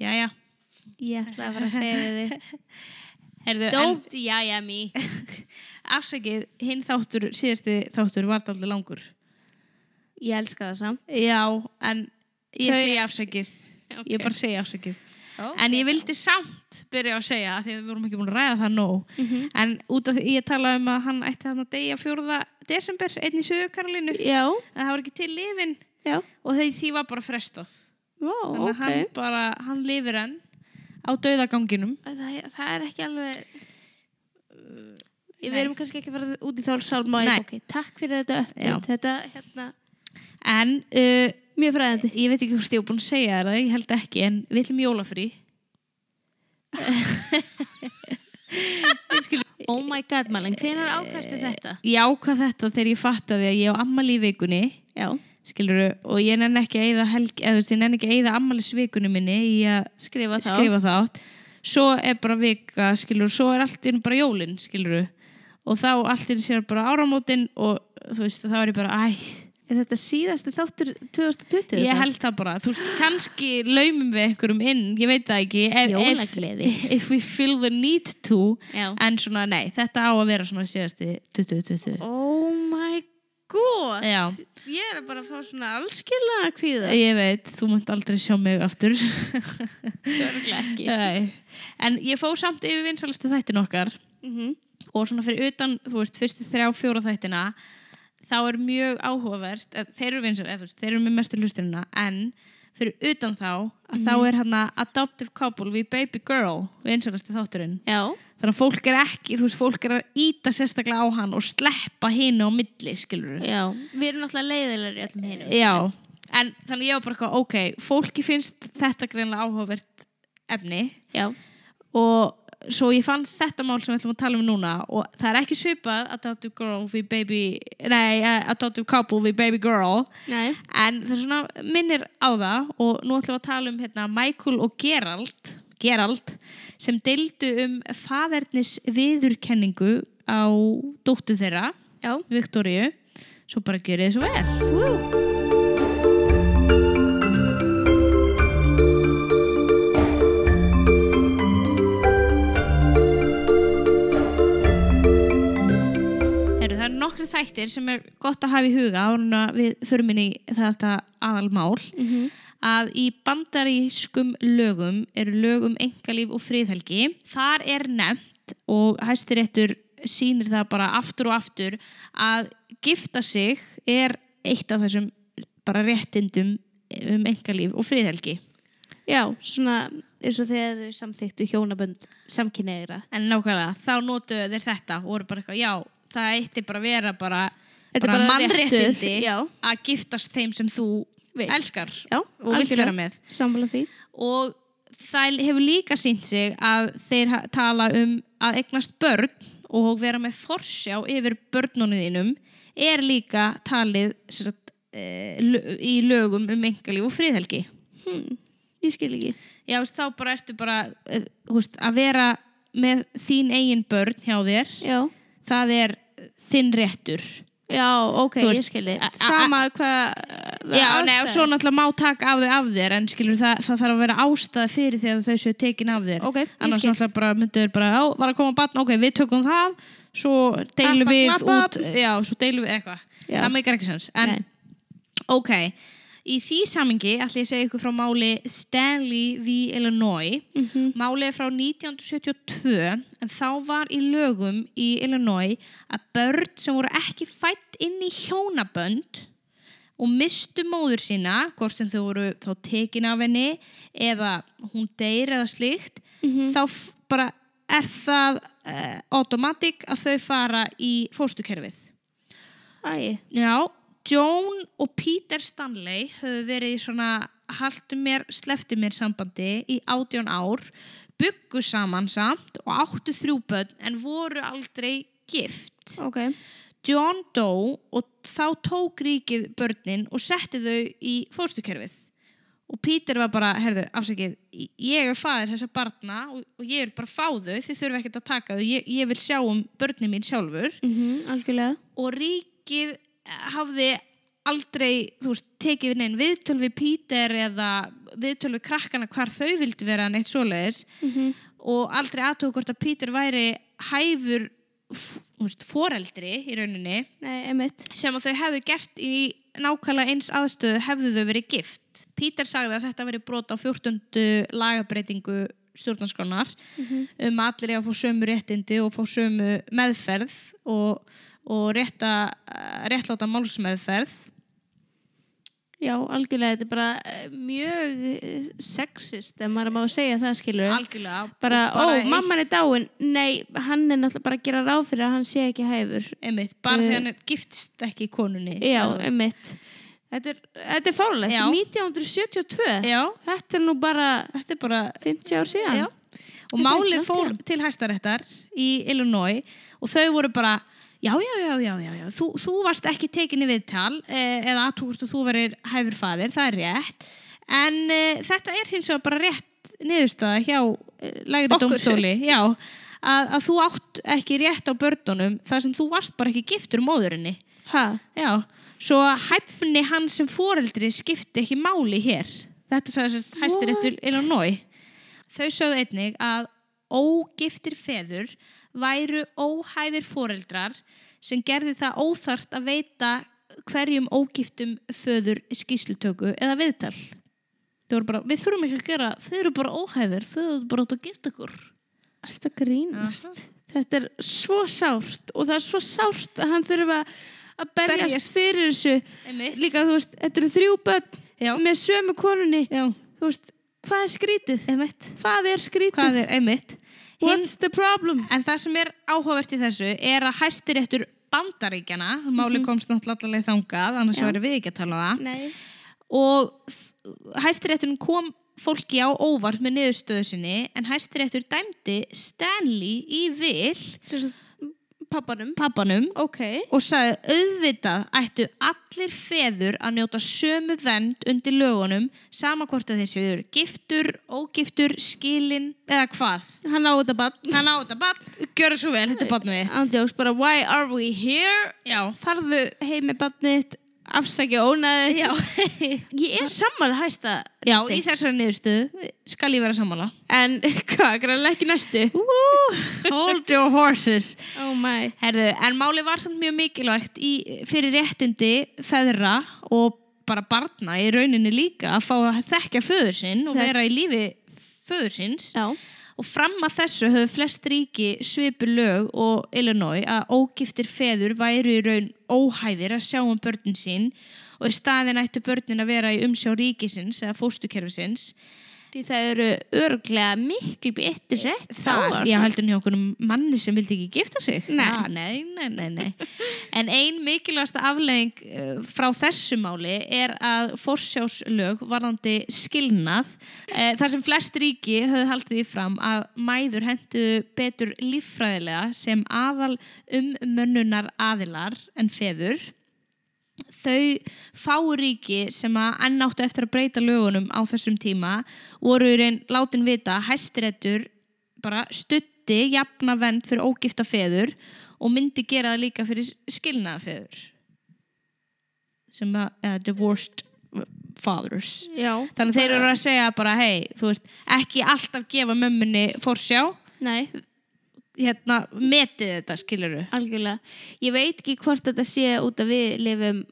Jæja, Ég ætla að fara að segja við þig. herðu, en Don't jaja me. afsakið, hinn þáttur, síðasti þáttur var daldið langur. Ég elska það samt. Já, en ég Þau- segi afsakið, ég bara segi afsakið. En ég vildi samt byrja að segja, af því að við vorum ekki búin að ræða það nóg, en út af því ég talaði um að hann ætti hann að deyja 4. desember, einn í sögur Karolínu, Já, en það var ekki til lifin já. og því, því var bara frestað. Vá, Þannig að hann bara, hann lifir enn á dauðaganginum. Það, það er ekki alveg... Við nei. erum kannski ekki að fara út í þálsálma. Nei. Ok, takk fyrir þetta Já. uppdýtt. Þetta, hérna... En uh, Mjög fræðandi. ég veit ekki hvort ég er búin að segja þér það, ég held ekki, en við ætlum jólafrí. Oh my god, Malin, hvenar ákastu þetta? Eh, Ég ákvað þetta þegar ég fattaði að ég á ammali í vikunni, Já. skilur og ég nenn ekki að eyða helg, eða þú veist, ég nenn ekki að eyða ammalisvikunni minni í að Skrifa þá. skrifa þátt. Svo er bara vika, skilur svo er allt inn bara jólin, skilur og þá allt inn sér bara áramótin og þú veist, þá er ég bara, æ, Er þetta síðasti þáttur 2020? Ég held það bara, þú veist, kannski laumum við einhverjum inn, ég veit það ekki ef- ef, Jólagleði. if we feel the need to Já. en svona, nei, þetta á að vera svona síðasti 2020 Oh my god. Já. Ég er bara að fá svona allskillega kvíða. Ég veit, þú munt aldrei sjá mig aftur Örugglega ekki. Nei. En ég fór samt yfir vinsalastu þættin okkar Mhm. og svona fyrir utan, þú veist, fyrstu þrjá fjóra þættina þá er mjög áhugavert eh, þeir eru vinsar, eða þú veist, þeir eru með mestu hlusturina en fyrir utan þá að þá er hann að Adoptive Couple við Baby Girl, vinsalasti þátturinn Já. þannig að fólk er ekki, þú veist, fólk er að íta sérstaklega á hann og sleppa hinu á milli, skilur Já. Við erum náttúrulega leiðilegar í öllum hinum. Já, en þannig ég var bara eitthvað, ok, fólki finnst þetta greinlega áhugavert efni Já. og svo ég fann þetta mál sem við ætlum að tala um núna og það er ekki svipað Adoptive Girl við Baby nei, eh, Adoptive Couple við Baby Girl Nei. en það er svona minnir á það og nú ætlum við að tala um hérna, Michael og Gerald Gerald sem deildu um fadernis viðurkenningu á dóttu þeirra Já. Viktoríu svo bara gjörið þið svo vel Woo. Heru, það eru nokkri þættir sem er gott að hafa í huga árun að við förum inn í þetta aðalmál að í bandarískum lögum eru lög um engalíf og friðhelgi þar er nefnt og hæstiréttur sýnir það bara aftur og aftur að gifta sig er eitt af þessum bara réttindum um engalíf og friðhelgi Já, svona eins og þegar þau samþyktu hjónabönd samkynneira. en nákvæmlega þá notuðu þeir þetta og voru bara eitthvað já það eitti bara að vera bara, Þetta er bara, bara mannréttindi réttur, já. að giftast þeim sem þú Vilt. elskar Já, og vilt vera með Sammála því. og það hefur líka sínt sig að þeir ha- tala um að egnast börn og vera með forsjá yfir börnunum þínum er líka talið sem sagt, eh, lö- í lögum um engalíf og friðhelgi Ég skil ekki. já, þú veist, þá bara ertu bara eh, þú veist, að vera með þín eigin börn hjá þér Já. það er þinn réttur Já, ok, Þú veist, ég skil a- a- þið. Sama hvað... Já, nei, og svo náttúrulega má taka af þau af þér en skilur það, það þarf að vera ástæða fyrir því að þau séu tekin af þér Ok, ég annars skil. náttúrulega bara myndu þau bara, já, var að koma batn ok, við tökum það, svo deilum Klappa, við klappa. út já, svo deilum við eitthvað, Já. það meikar ekki sens en Nei. ok, í því samingi ætla ég að segja ykkur frá máli Stanley v. Illinois Mhm. málið er frá 1972 en þá var í lögum í Illinois að börn sem voru ekki fætt inn í hjónabönd og mistu móður sína, hvort sem þau voru þá tekin af henni eða hún deyr eða slíkt, Mhm. þá f- bara er það uh, automatic að þau fara í fóstukerfið. Æ. Já, Joan og Peter Stanley höfðu verið í svona haltu mér, sleftu mér sambandi í átjón ár, byggu saman samt og áttu þrjú börn en voru aldrei gift. Ok. John dó og þá tók ríkið börnin og setti þau í fóstukerfið. Og Peter var bara, herðu, afsakið, ég er faðir þessa barna og, og ég vil bara fá þau, þið þurfa ekkert að taka þau, ég, ég vil Mhm, sjá um börnin mín sjálfur. Mm -hmm, algjörlega. Og ríkið hafði aldrei, þú veist, tekið neinn viðtöl við Peter eða viðtöl við krakkana hvar þau vildi vera neitt svoleiðis og aldrei aðtöku hvort að Peter væri hæfur f- þú veist, foreldri í rauninni Nei, emitt. sem að þau hefðu gert í nákvæmlega eins aðstöðu hefðu þau verið gift. Pítur sagði að þetta verið brot á 14. lagabreitingu stjórnarskronar um að allir ég að fá sömu réttindi og fá sömu meðferð og, og rétta, réttláta málsmeðferð. Já, algjörlega, þetta er bara eh, mjög eh, sexist, ef maður má segja það, skilur. Algjörlega. bara, Og bara ó, mamman er dáin. Nei, hann er náttúrulega bara að gera ráð fyrir að hann sé ekki hæfur. Einmitt, bara þegar hann er giftist ekki konunni. Já, Eða þú veist. emitt. Þetta er, þetta er fárlegt, Já. 1972. Já, Þetta er nú bara þetta er bara 50 ár síðan. Já. Og Þetta er málið ekki langt fór síðan. til hæstaréttar í Illinois og þau voru bara, já, já, já, já, já, já. Þú, þú varst ekki tekinni viðtal eh, eða aðtúkust að þú verir hæfur fæðir, það er rétt. En eh, þetta er hins vegar bara rétt niðurstaða hjá eh, lægri Okkur. dómstóli, já, að, að þú átt ekki rétt á börnunum þar sem þú varst bara ekki giftur móðurinni. Ha? Já, svo hæfni hann sem foreldri skipti ekki máli hér. Þetta sagði sérst hæstiréttur Illinois. Þau sögðu einnig að ógiftir feður væru óhæfir foreldrar sem gerði það óþart að veita hverjum ógiftum föður skýslutöku eða viðtal. Þau voru bara, við þurfum ekki að gera, þau eru bara óhæfir, þau eru bara átt að gifta ykkur. Þetta grínast. Þetta er svo sárt og það er svo sárt að hann þurfa að berjast, Berjast. fyrir þessu. Einmitt. Líka, þú veist, þetta eru þrjú börn Já. með sömu konunni. Já, Þú veist, hvað er skrítið? einmitt. Hvað er skrítið? Hvað er einmitt? Hinn What's the problem? En það sem er áhugavert í þessu er að hæstiréttur bandaríkjana, máli komst náttúrulega alla leið þangað, annars Já. verðum við ekki að tala um það, Nei. og þ- hæstirétturinn kom fólki á óvart með niðurstöðu sinni, en hæstiréttur dæmdi Stanley í vil Pappanum. pappanum Ok. og sagði auðvitað ættu allir feður að njóta sömu vend undir lögunum sama hvort að þeir séu giftur, ógiftur, skilin eða hvað. Hann á þetta bann. Þannig á þetta bann, gjöra svo vel, þetta er bannið þitt. Andjóks bara, why are we here? Já. Farðu heim með bannið, afsækja ónaðið. Já, Ég er sammála hæsta. já í þessari niðurstöðu skal ég vera sammála. En hvað, grannlega ekki næstu? Hold your horses. Oh my. Herðu, en máli var samt mjög mikilvægt í, fyrir réttindi feðra og bara barna í rauninni líka að fá að þekkja föður sinn og Það- vera í lífi föður sinns. Já. Og fram að þessu höfðu flest ríki svipu lög og Illinois að ógiftir feður væru í raun óhæfir að sjá um börnin sín og í staðin ættu börnin að vera í umsjá ríkisins eða fóstukerfisins. Því það eru örglega miklu betur sett. Það, já, heldur hann hjá okkur manni sem vildi ekki gifta sig. Nei. Ah, nei, nei, nei, nei. En ein mikilvægasta aflegging eh, frá þessu máli er að forsjáslög varðandi skilnað. eh, Þar sem flest ríki höfðu haldið því fram að mæður henduðu betur líffræðilega sem aðal um mönnunar aðilar en feður þau fáu ríki sem að enn áttu eftir að breyta lögunum á þessum tíma voru í raun látin vita að hæstirettur bara stutti jafna vend fyrir ógifta feður og myndi gera það líka fyrir skilnaða feður sem að eða divorced fathers Já. þannig að þeir eru að segja bara hei, þú veist, ekki alltaf gefa mömmunni fórsjá, Nei, hérna metið þetta skiluru algjörlega. Ég veit ekki hvort þetta sé út að við lifum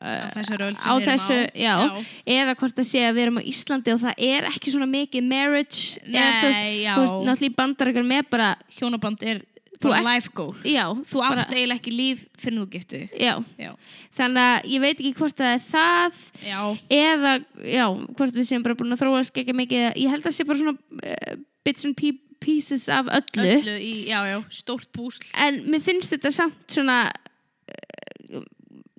á þessar öll sem á við erum þessu, á já, eða hvort það sé að við erum á Íslandi og það er ekki svona mikið marriage, eða þú veist, Nei, já. þú veist náttúrulega í bandar ykkur með bara, hjónaband er Þú bara ert- life goal já, þú átt bara, eiginlega ekki líf fyrir þú giftið þig. já, já. þannig að ég veit ekki hvort það er það já, eða, já, hvort við séum bara búin að þróast ekki mikið, ég held að sé bara svona uh, bits and pe- pieces af öllu, öllu í, já, já, stórt púsl en mér finnst þetta samt svona eh,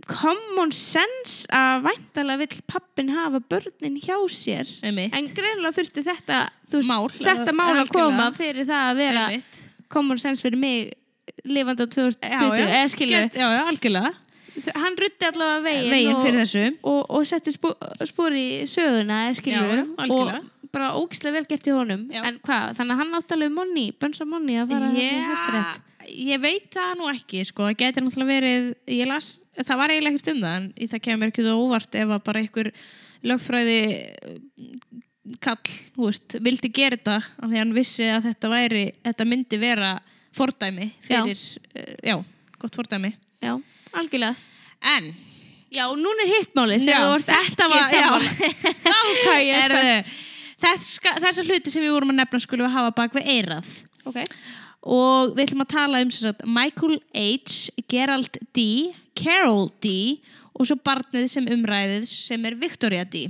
common sense að væntalega vill pappin hafa börnin hjá sér einmitt, en greinlega þurfti þetta þú veist, Mál, þetta mál að algjörlega. koma fyrir það að vera einmitt. common sense fyrir mig lifandi á 2020 eða skilur, Get- já, já, algjörlega hann rutti allavega veginn, veginn og, fyrir þessu og, og setti spú, spúr í söguna eða skilur Já, já, algjörlega. og bara ógislega vel gert í honum Já. en hvað, þannig að hann átti alveg monni, bönsa monni að fara yeah. í hæstarétt ég veit það nú ekki, sko, það getur náttúrulega verið, ég las, það var eiginlega ekkert um það, en í það kemur ekki það óvart ef að bara einhver lögfræði eh, kall, þú veist, vildi gera þetta af því að hann vissi að þetta væri, þetta myndi vera fordæmi fyrir, já, já gott fordæmi. Já, algjörlega. En, Já, núna er hitt málið sem Já, þú ert þetta ekki var- já. sammála. Vá, hvað ég er Erðu, spennt. þess, þessa hluti sem við vorum að nefna skulum við hafa bak við eirað. Ok. og við ætlum að tala um sem sagt, Michael H, Gerald D, Carol D og svo barnið sem umræðið sem er Victoria D.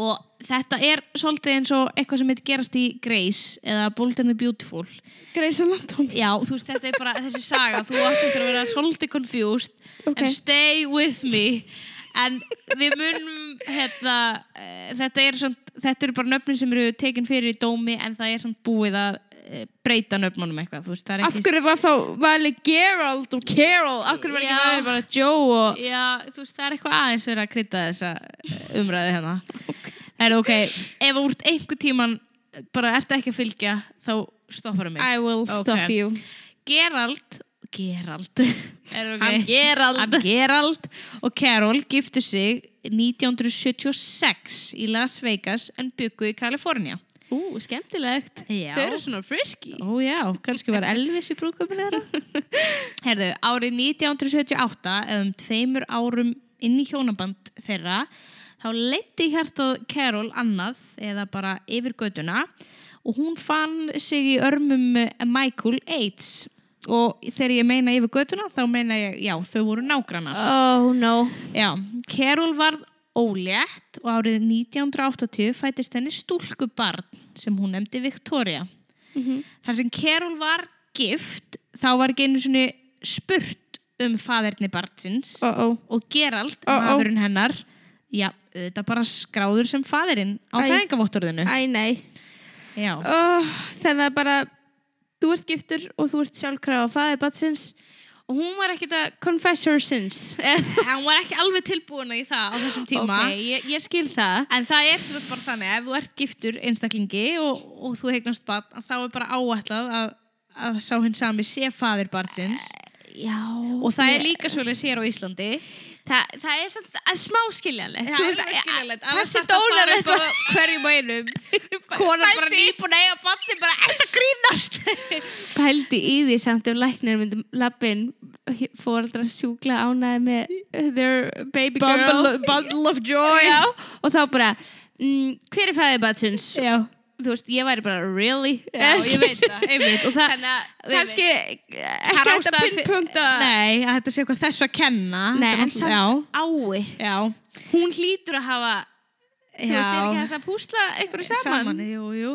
Og þetta er svolítið eins og eitthvað sem heitir gerast í Grace eða Bold and the Beautiful. Greisa Landtón. Já, þú veist, þetta er bara þessi saga, þú átti eftir að vera svolítið confused Ok. en stay with me. En við munum, hérna, eh, þetta eru þetta er bara nöfnin sem eru tekin fyrir í dómi en það er samt búið að eh, breyta nöfnunum eitthvað, þú veist, það er Af ekki... hverju var þá valið Gerald og Carol? Af hverju var ekki Já. valið bara Joe og... Já, þú veist, það er eitthvað aðeins verið að krydda þessa umræðu hérna. Það er ok, ef þú ert einhver tíman bara ert ekki að fylgja, þá stoppar mig. I will stop Ok. you. Gerald, Gerald, er ok? Hann Gerald. Hann Gerald og Carol giftu sig 1976 í Las Vegas en byggu í Kalifornija. Ú, skemmtilegt. Já. Þau eru svona frisky. Ó já, kannski var Elvis í brúðköpun þeirra. Herðu, árið 1978, eða um tveimur árum inn í hjónaband þeirra, þá leiti hjartað Carol annað, eða bara yfir göduna, og hún fann sig í örmum eh, Michael Aids. Og þegar ég meina yfir göduna, þá meina ég, já, þau voru nágrannar. Oh no. Já, Carol varð ólétt og árið 1980 fættist henni stúlkubarn sem hún nefndi Victoria. Mhm. Þar sem Carol var gift, þá var ekki einu sinni spurt um faderni barnsins Oh oh. og Gerald, Ó, ó. maðurinn hennar, já, auðvitað bara skráður sem faderinn á Æ. fæðingavottorðinu. Æ, nei. Já, oh, þannig að bara þú ert giftur og þú ert sjálfkrafa og það er batsins og hún var ekkert að confess her sins hann var ekki alveg tilbúin í það á þessum tíma. ok, ég, ég skil það En það er svona bara þannig ef þú ert giftur einstaklingi og, og þú heignast barn að þá er bara áætlað að, að sá hinn sami sé faðir barnsins já, og það er líka svolítið sér á Íslandi það, það er svona að smá skiljanlegt eh, Þú veist, að- þessi annars þarftu að fara dólar upp á hverjum og einum konan bara Pældi í- nýbúin að eiga barni bara eitt að grínast pældi í því samt ef læknir myndum lappin fóreldra sjúkla ánaði með their baby girl bundle of joy já, og þá bara mm, hver er fæðið batsins já, þú veist, ég væri bara really ég veit það, einmitt og það, Þannig, að- kannski ekki hægt að ástæða fyrir- pinpunta nei, að þetta sé eitthvað þessu að kenna Nei, Þetta en samt náttúrulega- ái já, já hún hlýtur að hafa þú veist, er Já. ekki hægt að púsla einhverju saman, Eh, jú, jú.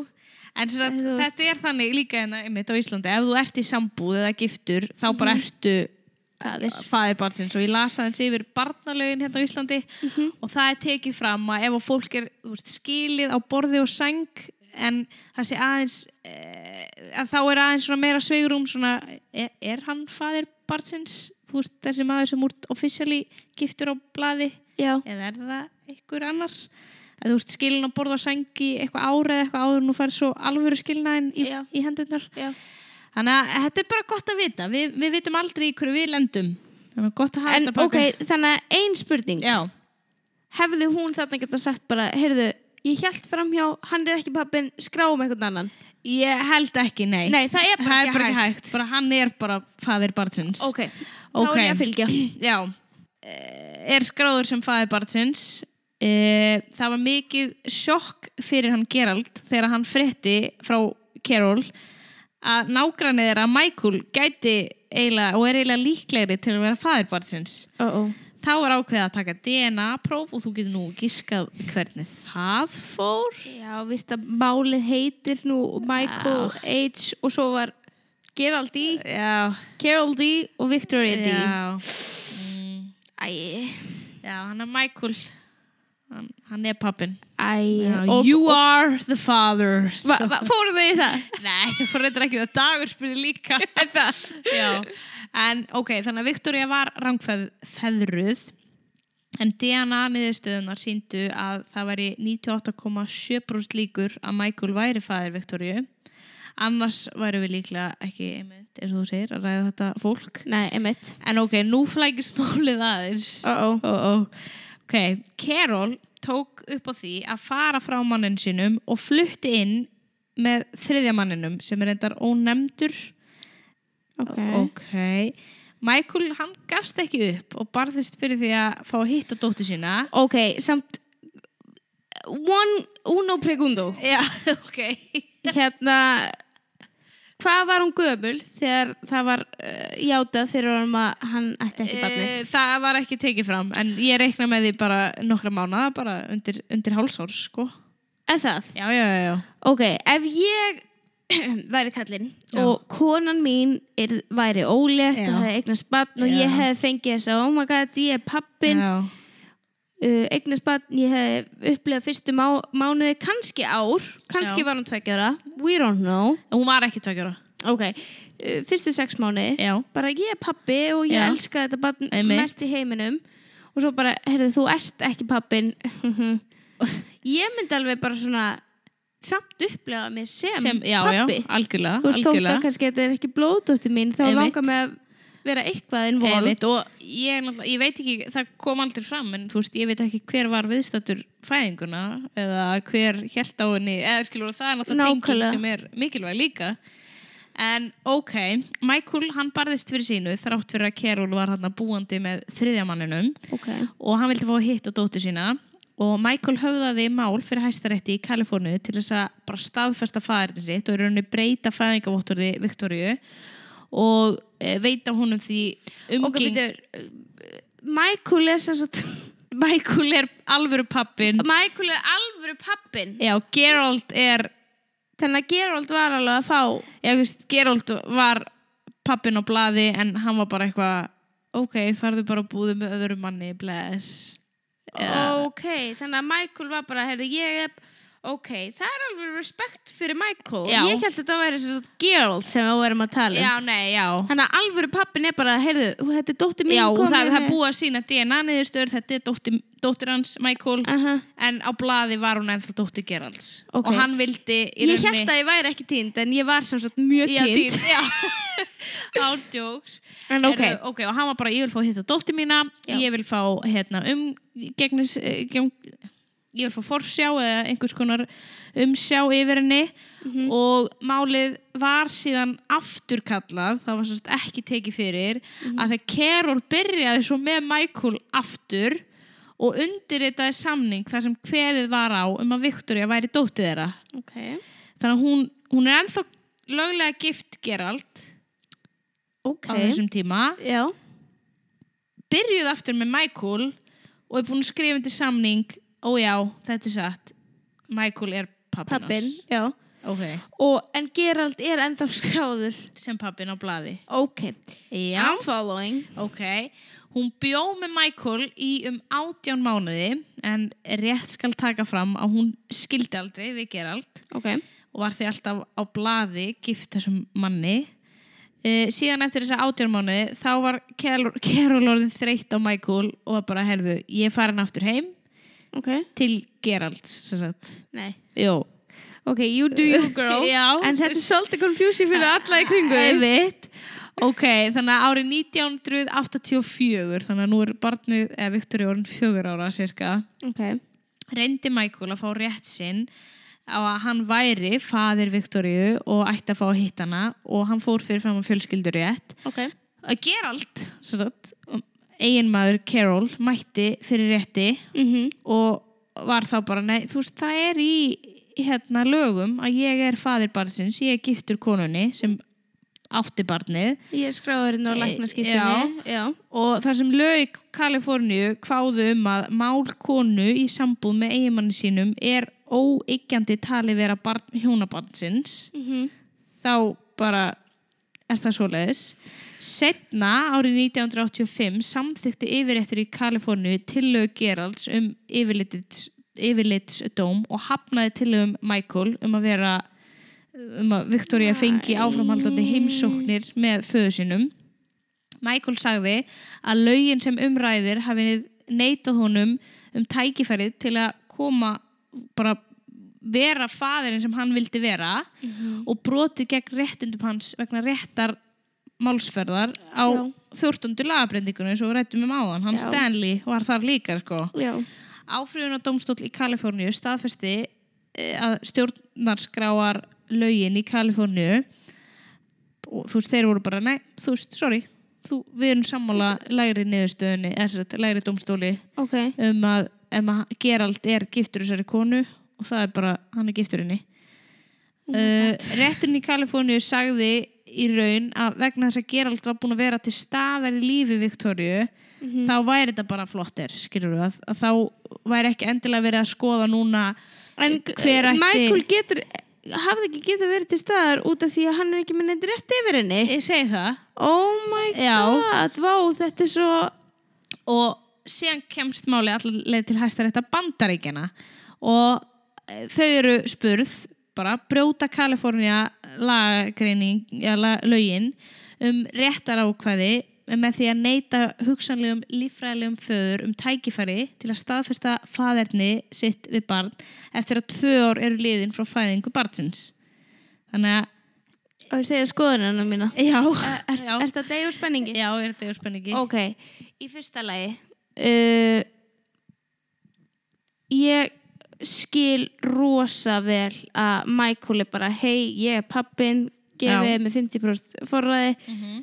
En sem sagt, Þú veist. þetta er þannig líka hérna einmitt á Íslandi, ef þú ert í sambúð eða giftur, þá bara Mhm. Faðir. ertu fæðir barnsins og ég lasa hans yfir barnalögin hérna á Íslandi Mhm. og það er tekið fram að ef að fólk er þú veist, skilið á borði og sæng en það sé aðeins eh, að þá er aðeins svona meira sveigurum svona, er, er hann fæðir barnsins, þú veist, þessi maður sem úrt officially giftur á blaði já, eða er það einhver annar að þú ert skilin að borða á sængi eitthvað ára eða eitthvað áður en þú fær svo alvöru skilnaðin í, Já. í hendurnar já þannig að þetta er bara gott að vita við, við vitum aldrei í hverju við lendum þannig að gott að hafa en þetta ok, þannig að ein spurning já, hefði hún þarna geta sagt bara heyrðu, ég held framhjá, hann er ekki pappin skráum einhvern annan ég held ekki nei, nei, það er bara það er ekki bara ekki hægt hægt bara hann er bara faðir barnsins ok, þá Ok. er ég að fylgja já, Eh, er skráður sem faðir barnsins Eh, það var mikið sjokk fyrir hann Gerald þegar hann frétti frá Carol að nágrannið þeirra Michael gæti eiginlega og er eiginlega líklegri til að vera faðir barnsins oh, oh. þá var ákveðið að taka DNA próf og þú getur nú gískað hvernig það fór já, víst að málið heitir nú Michael H og svo var Gerald D, já, Carol D og Victoria D já, Æ, já hann er Michael hann, hann er pappin Æ, og, you are the father va, va, fóru þau í það? Nei, ég fór reyndar ekki það dagur spurði líka það? Já, en ok, þannig að Viktoria var rangfeðruð en DNA niðurstöðunar síndu að það væri 98,7% líkur að Michael væri fæðir Viktoríu annars væri við líklega ekki einmitt neitt, eins og þú segir, að ræða þetta fólk. Nei, emitt. En ok, nú flækist málið aðeins. Uh-oh. Ó, ó. Ok, Carol tók upp á því að fara frá mannin sinum og flutti inn með þriðja manninum sem er endar ónefndur. Ok. Ok. Michael, hann gafst ekki upp og barðist fyrir því að fá að hitta dóttu sína. Ok, samt one, uno pregundo. Já, ok. Hérna, hvað var hún gömul þegar það var uh, játað fyrir honum að hann ætti ekki barnið? Eh, Það var ekki tekið fram, en ég reikna með því bara nokkra mánuða, bara undir, undir hálsár, sko. Er það? Já, já, já, já. Ok, ef ég væri kallinn Já. og konan mín er, væri ólétt Já. og það eignast barn og Já. ég hefði fengið þess að oh my god, ég er pappin uh, Já. eignast barn, ég hefði upplifað fyrstu má, mánuði, kannski ár kannski Já. var hún tveggjara, we don't know Hún var ekki tveikjara. ok, uh, fyrstu sex mánuði Já. bara ég er pappi og ég Já. elska þetta barn Einmitt. mest í heiminum og svo bara, heyrðu, þú ert ekki pappin ég myndi alveg bara svona samt upplega mig sem, Sem, já, pappi já, algjörlega. þú veist, þótt algjörlega. að kannski þetta er ekki blóðdóttir mín þá Einmitt. langar mig að vera eitthvað involved Einmitt, og ég, er náttúrulega- ég veit ekki, það kom aldrei fram en þú veist, ég veit ekki hver var viðstættur fæðinguna eða hver held á henni, eða skilur það er náttúrulega tenging Nákvæmlega. sem er mikilvæg líka en ok, Michael hann barðist fyrir sínu þrátt fyrir að Carol var hann búandi með þriðjamanninum ok, og hann vildi fá að hitta dóttu sína og Michael höfðaði mál fyrir hæstarétti í Kalifornu til þess að bara staðfesta fæðirni sitt og í rauninni breyta fæðingavottorði Viktoríu og eh, veita honum því ok, umgeng býtur Michael er sem sagt Michael er alvöru pappin Michael er alvöru pappin já, Gerald er þannig að Gerald var alveg að fá já, þú veist, Gerald var pappin á blaði en hann var bara eitthvað ok, farðu bara að búðu með öðru manni bless ok, þannig að Michael var bara heyrðu, ég er, ok, það er alveg respekt fyrir Michael, Já. ég held að þetta væri sem sagt Gerald sem við vorum að tala um já, nei, já þannig að alvöru pappin er bara heyrðu, þetta er dóttir mín Já, og komin það, það með- er búið að sína DNA niðurstöður, þetta er dóttir, dóttir hans, Michael, Aha. en á blaði var hún ennþá dóttir Geralds. Ok. Og hann vildi í ég held að ég væri ekki týnd en ég var sem sagt mjög Já, týnd, týnd já. Ándjóks. En ok. Heyrðu, ok, og hann var bara, ég vil fá hitta dóttir mína, Já. ég vil fá hérna um, gegnis, eh, gegn, ég vil fá forsjá eða einhvers konar umsjá yfir henni Mhm. og málið var síðan afturkallað, það var sérst ekki tekið fyrir, Mhm. að þegar Carol byrjaði svo með Michael aftur og undirritaði samning þar sem kveðið var á um að Victoria væri dóttið þeirra. ok, Þannig að hún, hún er ennþá löglega gift Geralt ok á þessum tíma. já, Byrjuð aftur með Michael og er búin að skrifa undir samning. Ó já, þetta er satt. Michael er pappin. pappin, já Ok. og, en Gerald er ennþá skráður Sem pappin á blaði. ok, Já. I'm following Ok. Hún bjó með Michael í um átján mánuði en rétt skal taka fram að hún skildi aldrei við Geralt. ok, og var því alltaf á blaði gift þessum manni uh, síðan eftir þessa átjörmánu þá var Carol Carol orðin þreytt á Michael og var bara, herðu, ég er farin aftur heim ok til Geralt sem sagt, nei jú Ok, you do you girl Já. En þetta er svolítið confusing fyrir alla í kringu Einmitt. ok, þannig að árið 1984 þannig að nú er barnið, eða Viktor orðin fjögur ára cirka Ok, reyndi Michael að fá rétt sinn á að hann væri faðir Viktoríu og ætti að fá að hitta hana og hann fór fyrir fram á fjölskyldur rétt ok að Gerald sagt, eiginmaður Carol mætti fyrir rétti mm -hmm. og var þá bara nei, þú veist, það er í hérna lögum að ég er faðir barnsins, ég er giftur konunni sem átti barnið Ég skráður inn á læknaskíslunni Eh, Já, og þar sem lög Kaliforníu kváðu um að mál konu í sambúð með eiginmanni sínum er óyggjandi tali vera barn, hjónabarnsins Mhm. þá bara er það svoleiðis. Setna árið 1985 samþykti yfirréttur í Kaliforníu tillögu Geralds um yfirlits, yfirlitsdóm og hafnaði tillögum Michael um að vera um að Victoria fengi áframhaldandi heimsóknir með föðu sinum. Michael sagði að lögin sem umræðir hafi neitað honum um tækifærið til að koma bara Mhm. vera faðirinn sem hann vildi vera og brotið gegn réttindum hans vegna réttar málsferðar á Já. 14. lagabrendingunum eins og við rættum um áðan. Hann Já. Stanley var þar líka sko. Já. Áfrýjunardómstóll í Kaliforníu staðfesti eh, að stjórnarskráar lögin í Kaliforníu og þú veist, þeir voru bara, nei, þú veist, sorry þú, við erum sammála lægri niðurstöðunni, eða sem sagt, lægri dómstóli Ok. um að, um að Gerald er giftur þessari konu og það er bara, hann er giftur henni Oh uh, Rétturinn í Kaliforníu sagði í raun að vegna þess að Gerald var búin að vera til staðar í lífi Viktoríu Mhm. þá væri þetta bara flottir, skilur við að, að þá væri ekki endilega verið að skoða núna En hver ætti eh, Michael getur, hafði ekki getur verið til staðar út af því að hann er ekki með neitt rétt yfir henni. Ég segi það Oh my Já. god, vá, þetta er svo... og síðan kemst máli allir til hæstarétta bandaríkjana og eh, þau eru spurð bara brjóta Kalifornia lagreining, ja, la, lögin um réttar ákvæði með því að neyta hugsanlegum líffræðilegum föður um tækifæri til að staðfesta faderni sitt við barn eftir að tvö ár eru liðin frá fæðingu barnsins. Þannig að, Og ég segja skoðunina mína. já, Er, Eh, já, er þetta degi úr spenningi? já, er þetta spenningi? Ok, í fyrsta lagi uh, Ég skil rosa vel að Michael er bara hei, ég er pappin Já. Mhm. gefið mig 50% forræði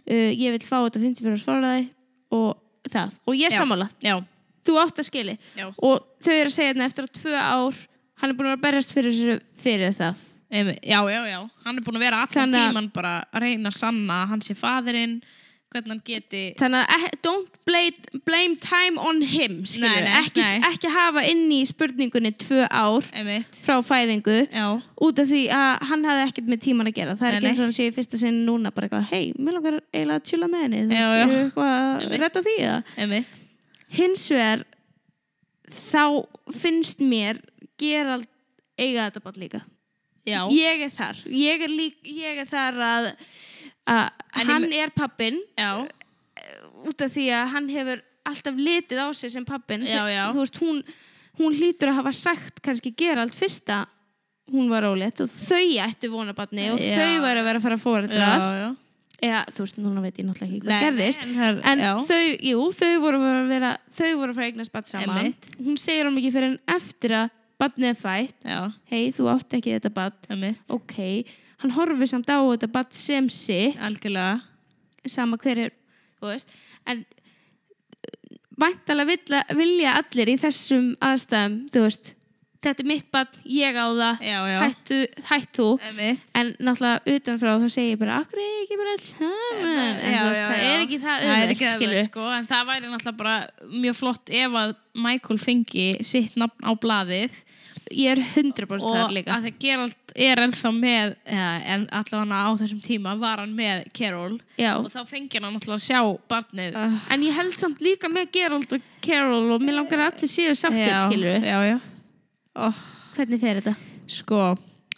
uh, ég vil fá þetta 50% forræði og það, og ég er Já. sammála Já, þú átt að skili Já. og þau eru að segja þetta eftir að tvö ár hann er búin að vera að berjast fyrir, þessu- fyrir það Emi, já, já, já, hann er búin að vera allan Þannig að- tíman bara að reyna að sanna að hann sé faðirinn, hvernig hann geti Þannig að eh, don't blame, blame time on him, skilur Nei, nei, ekki, nei. ekki hafa inn í spurningunni tvö ár emitt, frá fæðingu já, út af því að hann hafði ekkert með tíman að gera það er Nei, ekki eins nei. og hann sé í fyrsta sinn núna bara eitthvað, hei, mér langar eiginlega að chilla með henni þú Já, veist, já. eru eitthvað að Einmitt. retta því eða emitt hins vegar þá finnst mér Gerald eiga þetta bara líka já, ég er þar, ég er, lík, ég er þar að, að En ég hann er pappin já, út af því að hann hefur alltaf litið á sig sem pappin Já, já. þú veist, hún, hún hlýtur að hafa sagt kannski Gerald fyrsta hún var ólétt og þau ættu vonabatni og Já. þau væru að vera að fara að já, fóreldrar já eða þú veist, núna veit ég náttúrulega ekki Nei, hvað gerðist nei, en, en það er- já, þau, jú, þau voru að fara að vera þau voru að fara að eignast batn saman Einmitt. hún segir hann ekki fyrir en eftir að batnið er fætt, já, hei, þú átt ekki þetta batn emitt, ok, hann horfir samt á þetta batn sem sitt algjörlega sama hver er þú veist, en væntalega vilja, vilja allir í þessum aðstæðum þú veist, þetta er mitt barn, ég á það já, já, hættu, hætt þú emitt, en náttúrulega utanfrá þá segir ég bara akkur er ég ekki bara alls saman en þú veist, það er ekki það það er ekki það skilur. auðvelt, sko, en það væri náttúrulega bara mjög flott ef að Michael fengi sitt nafn á blaðið ég er 100% og þar að líka það Gerald er ennþá með, eða, en allavega á þessum tíma var hann með Carol Já. og þá fengi hann náttúrulega að sjá barnið en ég held samt líka með Gerald og Carol og mér langar að allir séu sáttir skilur já, já. Oh, hvernig fer þetta? sko,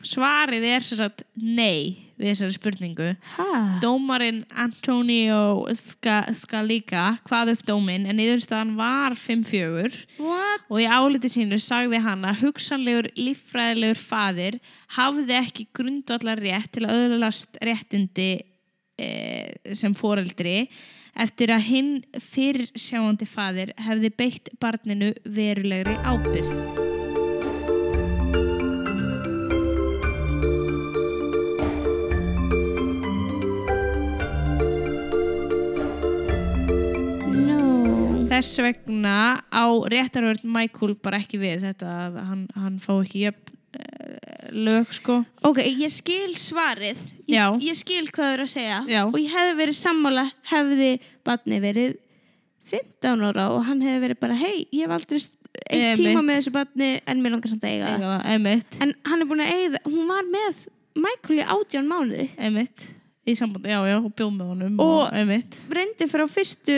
svarið er sem sagt nei við þessari spurningu Ha? Dómarinn Antonio Ska- Scalica hvað upp dóminn en yfirstaðan var 5-4 What? og í áliti sínu sagði hann að hugsanlegur líffræðilegur faðir hafði ekki grundvallar rétt til að öðrulast réttindi e, sem foreldri eftir að hinn fyrr sjáandi faðir hefði beitt barninu verulegri ábyrð. No. Þess vegna á réttarvörð Michael bara ekki við þetta að hann, hann fá ekki jöfn e, lög sko. Ok, ég skil svarið Já. ég, ég skil hvað þú eru að segja Já. og ég hefði verið sammála hefði batni verið 15 ára og hann hefði verið bara hei, ég hef aldrei s- eitt Einmitt. tíma með þessu batni en mér langar samt að eiga það Eiga það, Einmitt, en hann er búin að eiga, hún var með Michael í 18 mánuði einmitt í sambandi, já, já, og bjóð með honum Og- einmitt, reyndi frá fyrstu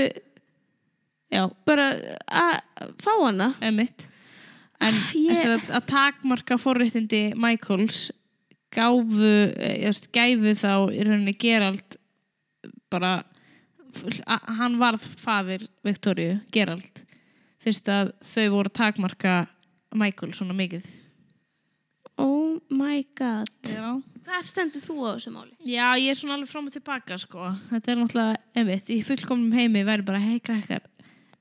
já bara að fá hana einmitt en Ég- ég... að, að takmarka forréttindi Michaels gáfu, eðast, gæfu þá í rauninni Gerald bara full- a- hann varð faðir Viktoríu, Gerald fyrst að þau voru að takmarka Michael svona mikið oh my god. Já. Hvað stendur þú á þessu máli? Já, ég er svona alveg fram og tilbaka, sko. Þetta er náttúrulega, einmitt, í fullkomnum heimi væri bara, hei, krakkar,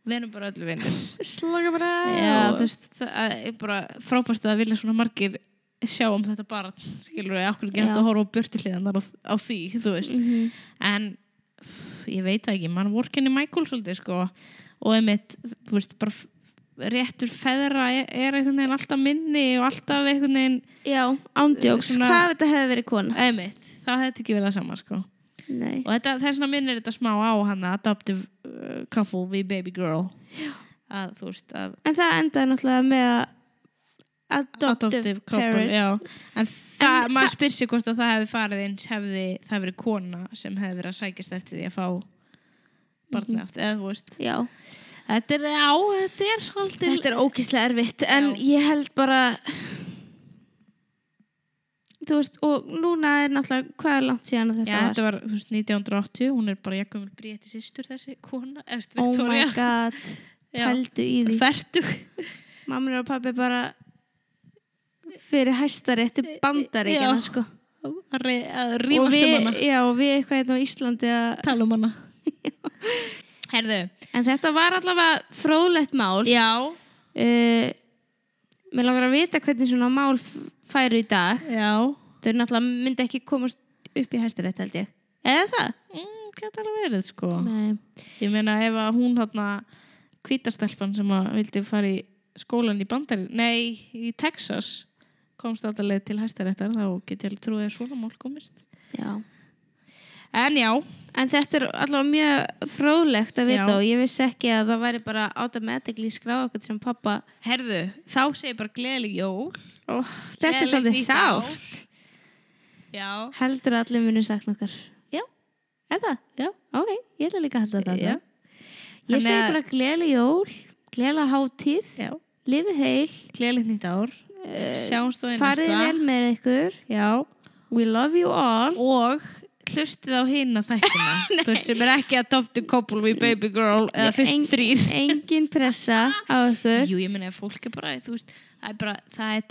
við erum bara öllu vinnir. Slaga bara Já, þú veist, það er bara frábært að vilja svona margir sjá um þetta bara, skilur við, okkur ekki hægt Já. að horfa á börtuliðanar á, á því, þú veist. Mhm. En pff, ég veit það ekki, mann vorkenni Michael svolítið, sko, og einmitt, þú veist, bara f- réttur feðra er, er einhvern veginn alltaf minni og alltaf einhvern veginn, Já, ándjóks. Svona- Hvað ef þetta hefði verið kona? einmitt, það hefði ekki verið það sama, sko. Nei. Og þetta, þess vegna minnir þetta smá á hana, Adoptive uh, Couple við Baby Girl. Að, þú veist, að En það endaði náttúrulega með að adoptive, couple, parent. já. en það, En maður spyr sig hvort að það hefði farið eins hefði það verið kona sem hefði verið að sækjast eftir því að fá barnið aftur, eða þú veist Já. Mhm. þetta er, á, þetta er svolítið Þetta er ókíslega erfitt, en Já. ég held bara... Þú veist, og núna er náttúrulega, hvað er langt síðan að já, þetta var? þetta var, þú veist, 1980 hún er bara jakkumul bréti sýstur þessi kona, eftir Oh my Victoria god, Já. pældu í því. fertug Mamma og pappi bara fyrir hæstarétti bandaríkjana, Já. sko. að re- að Og rífast um við, hana já, og við eitthvað hérna á Íslandi að... tala um hana herðu, En þetta var allavega fróðlegt mál. já Uh, mér langar að vita hvernig svona mál f- færu í dag. já, Þau náttúrulega myndi ekki komast upp í hæstarétt, held ég. Eða það? mm, gæti alveg verið sko Nei. Ég meina ef að hún hátna kvítastelpan sem að vildi fara í skólan í bandar, nei, í Texas komst alltaf leið til hæstaréttar þá get ég alveg trúið að svona mál komist Já. En já, En þetta er allavega mjög fróðlegt að vita Já. og ég vissi ekki að það væri bara automatically skráð okkur sem pappa. herðu, þá segir bara gleðileg jól Ó, þetta er Gleðilegt svolítið nýtt ár. sárt. Já, Heldur að allir munu sakna okkar. já, Er það? já, Ok, ég ætla líka að halda þetta. Já. Ég Þannig segi að- bara gleðileg jól, gleðilega hátíð, já. lifið heil, Gleðilegt nýtt ár Sjáumst á einasta Eh, farið vel með ykkur. Já, We love you all. og hlustið á hina þættina þú veist sem er ekki adoptive couple við baby girl eða fyrst Eng- þrýr Engin pressa á ykkur. Jú, ég meina að fólk er bara, þú veist, það er bara, það er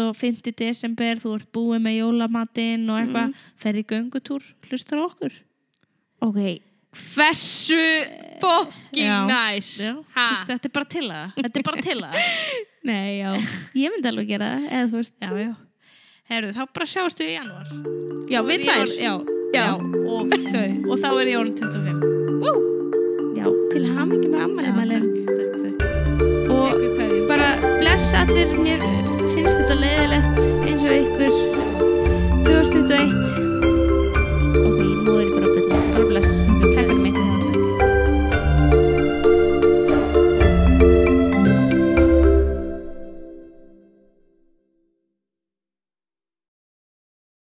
25. desember, þú ert búið með jólamatinn og eitthvað, ferði göngutúr, hlustar á okkur. Ok, Hversu fucking Já. næs Já, Ha? þú veist, þetta er bara til að það, þetta er bara til að það. nei, já. Ég myndi alveg gera það, eða þú veist. Já, já. Herðu, þá bara sjáumst við í janúar. Já, við Í tvær. jól- Já, já, og þau, og þá er ég orðin 25. Já, til hamingi með ammali takk, mælum. takk, takk. Og Takk fyrir hverjum. bara bless allir, mér finnst þetta leiðilegt.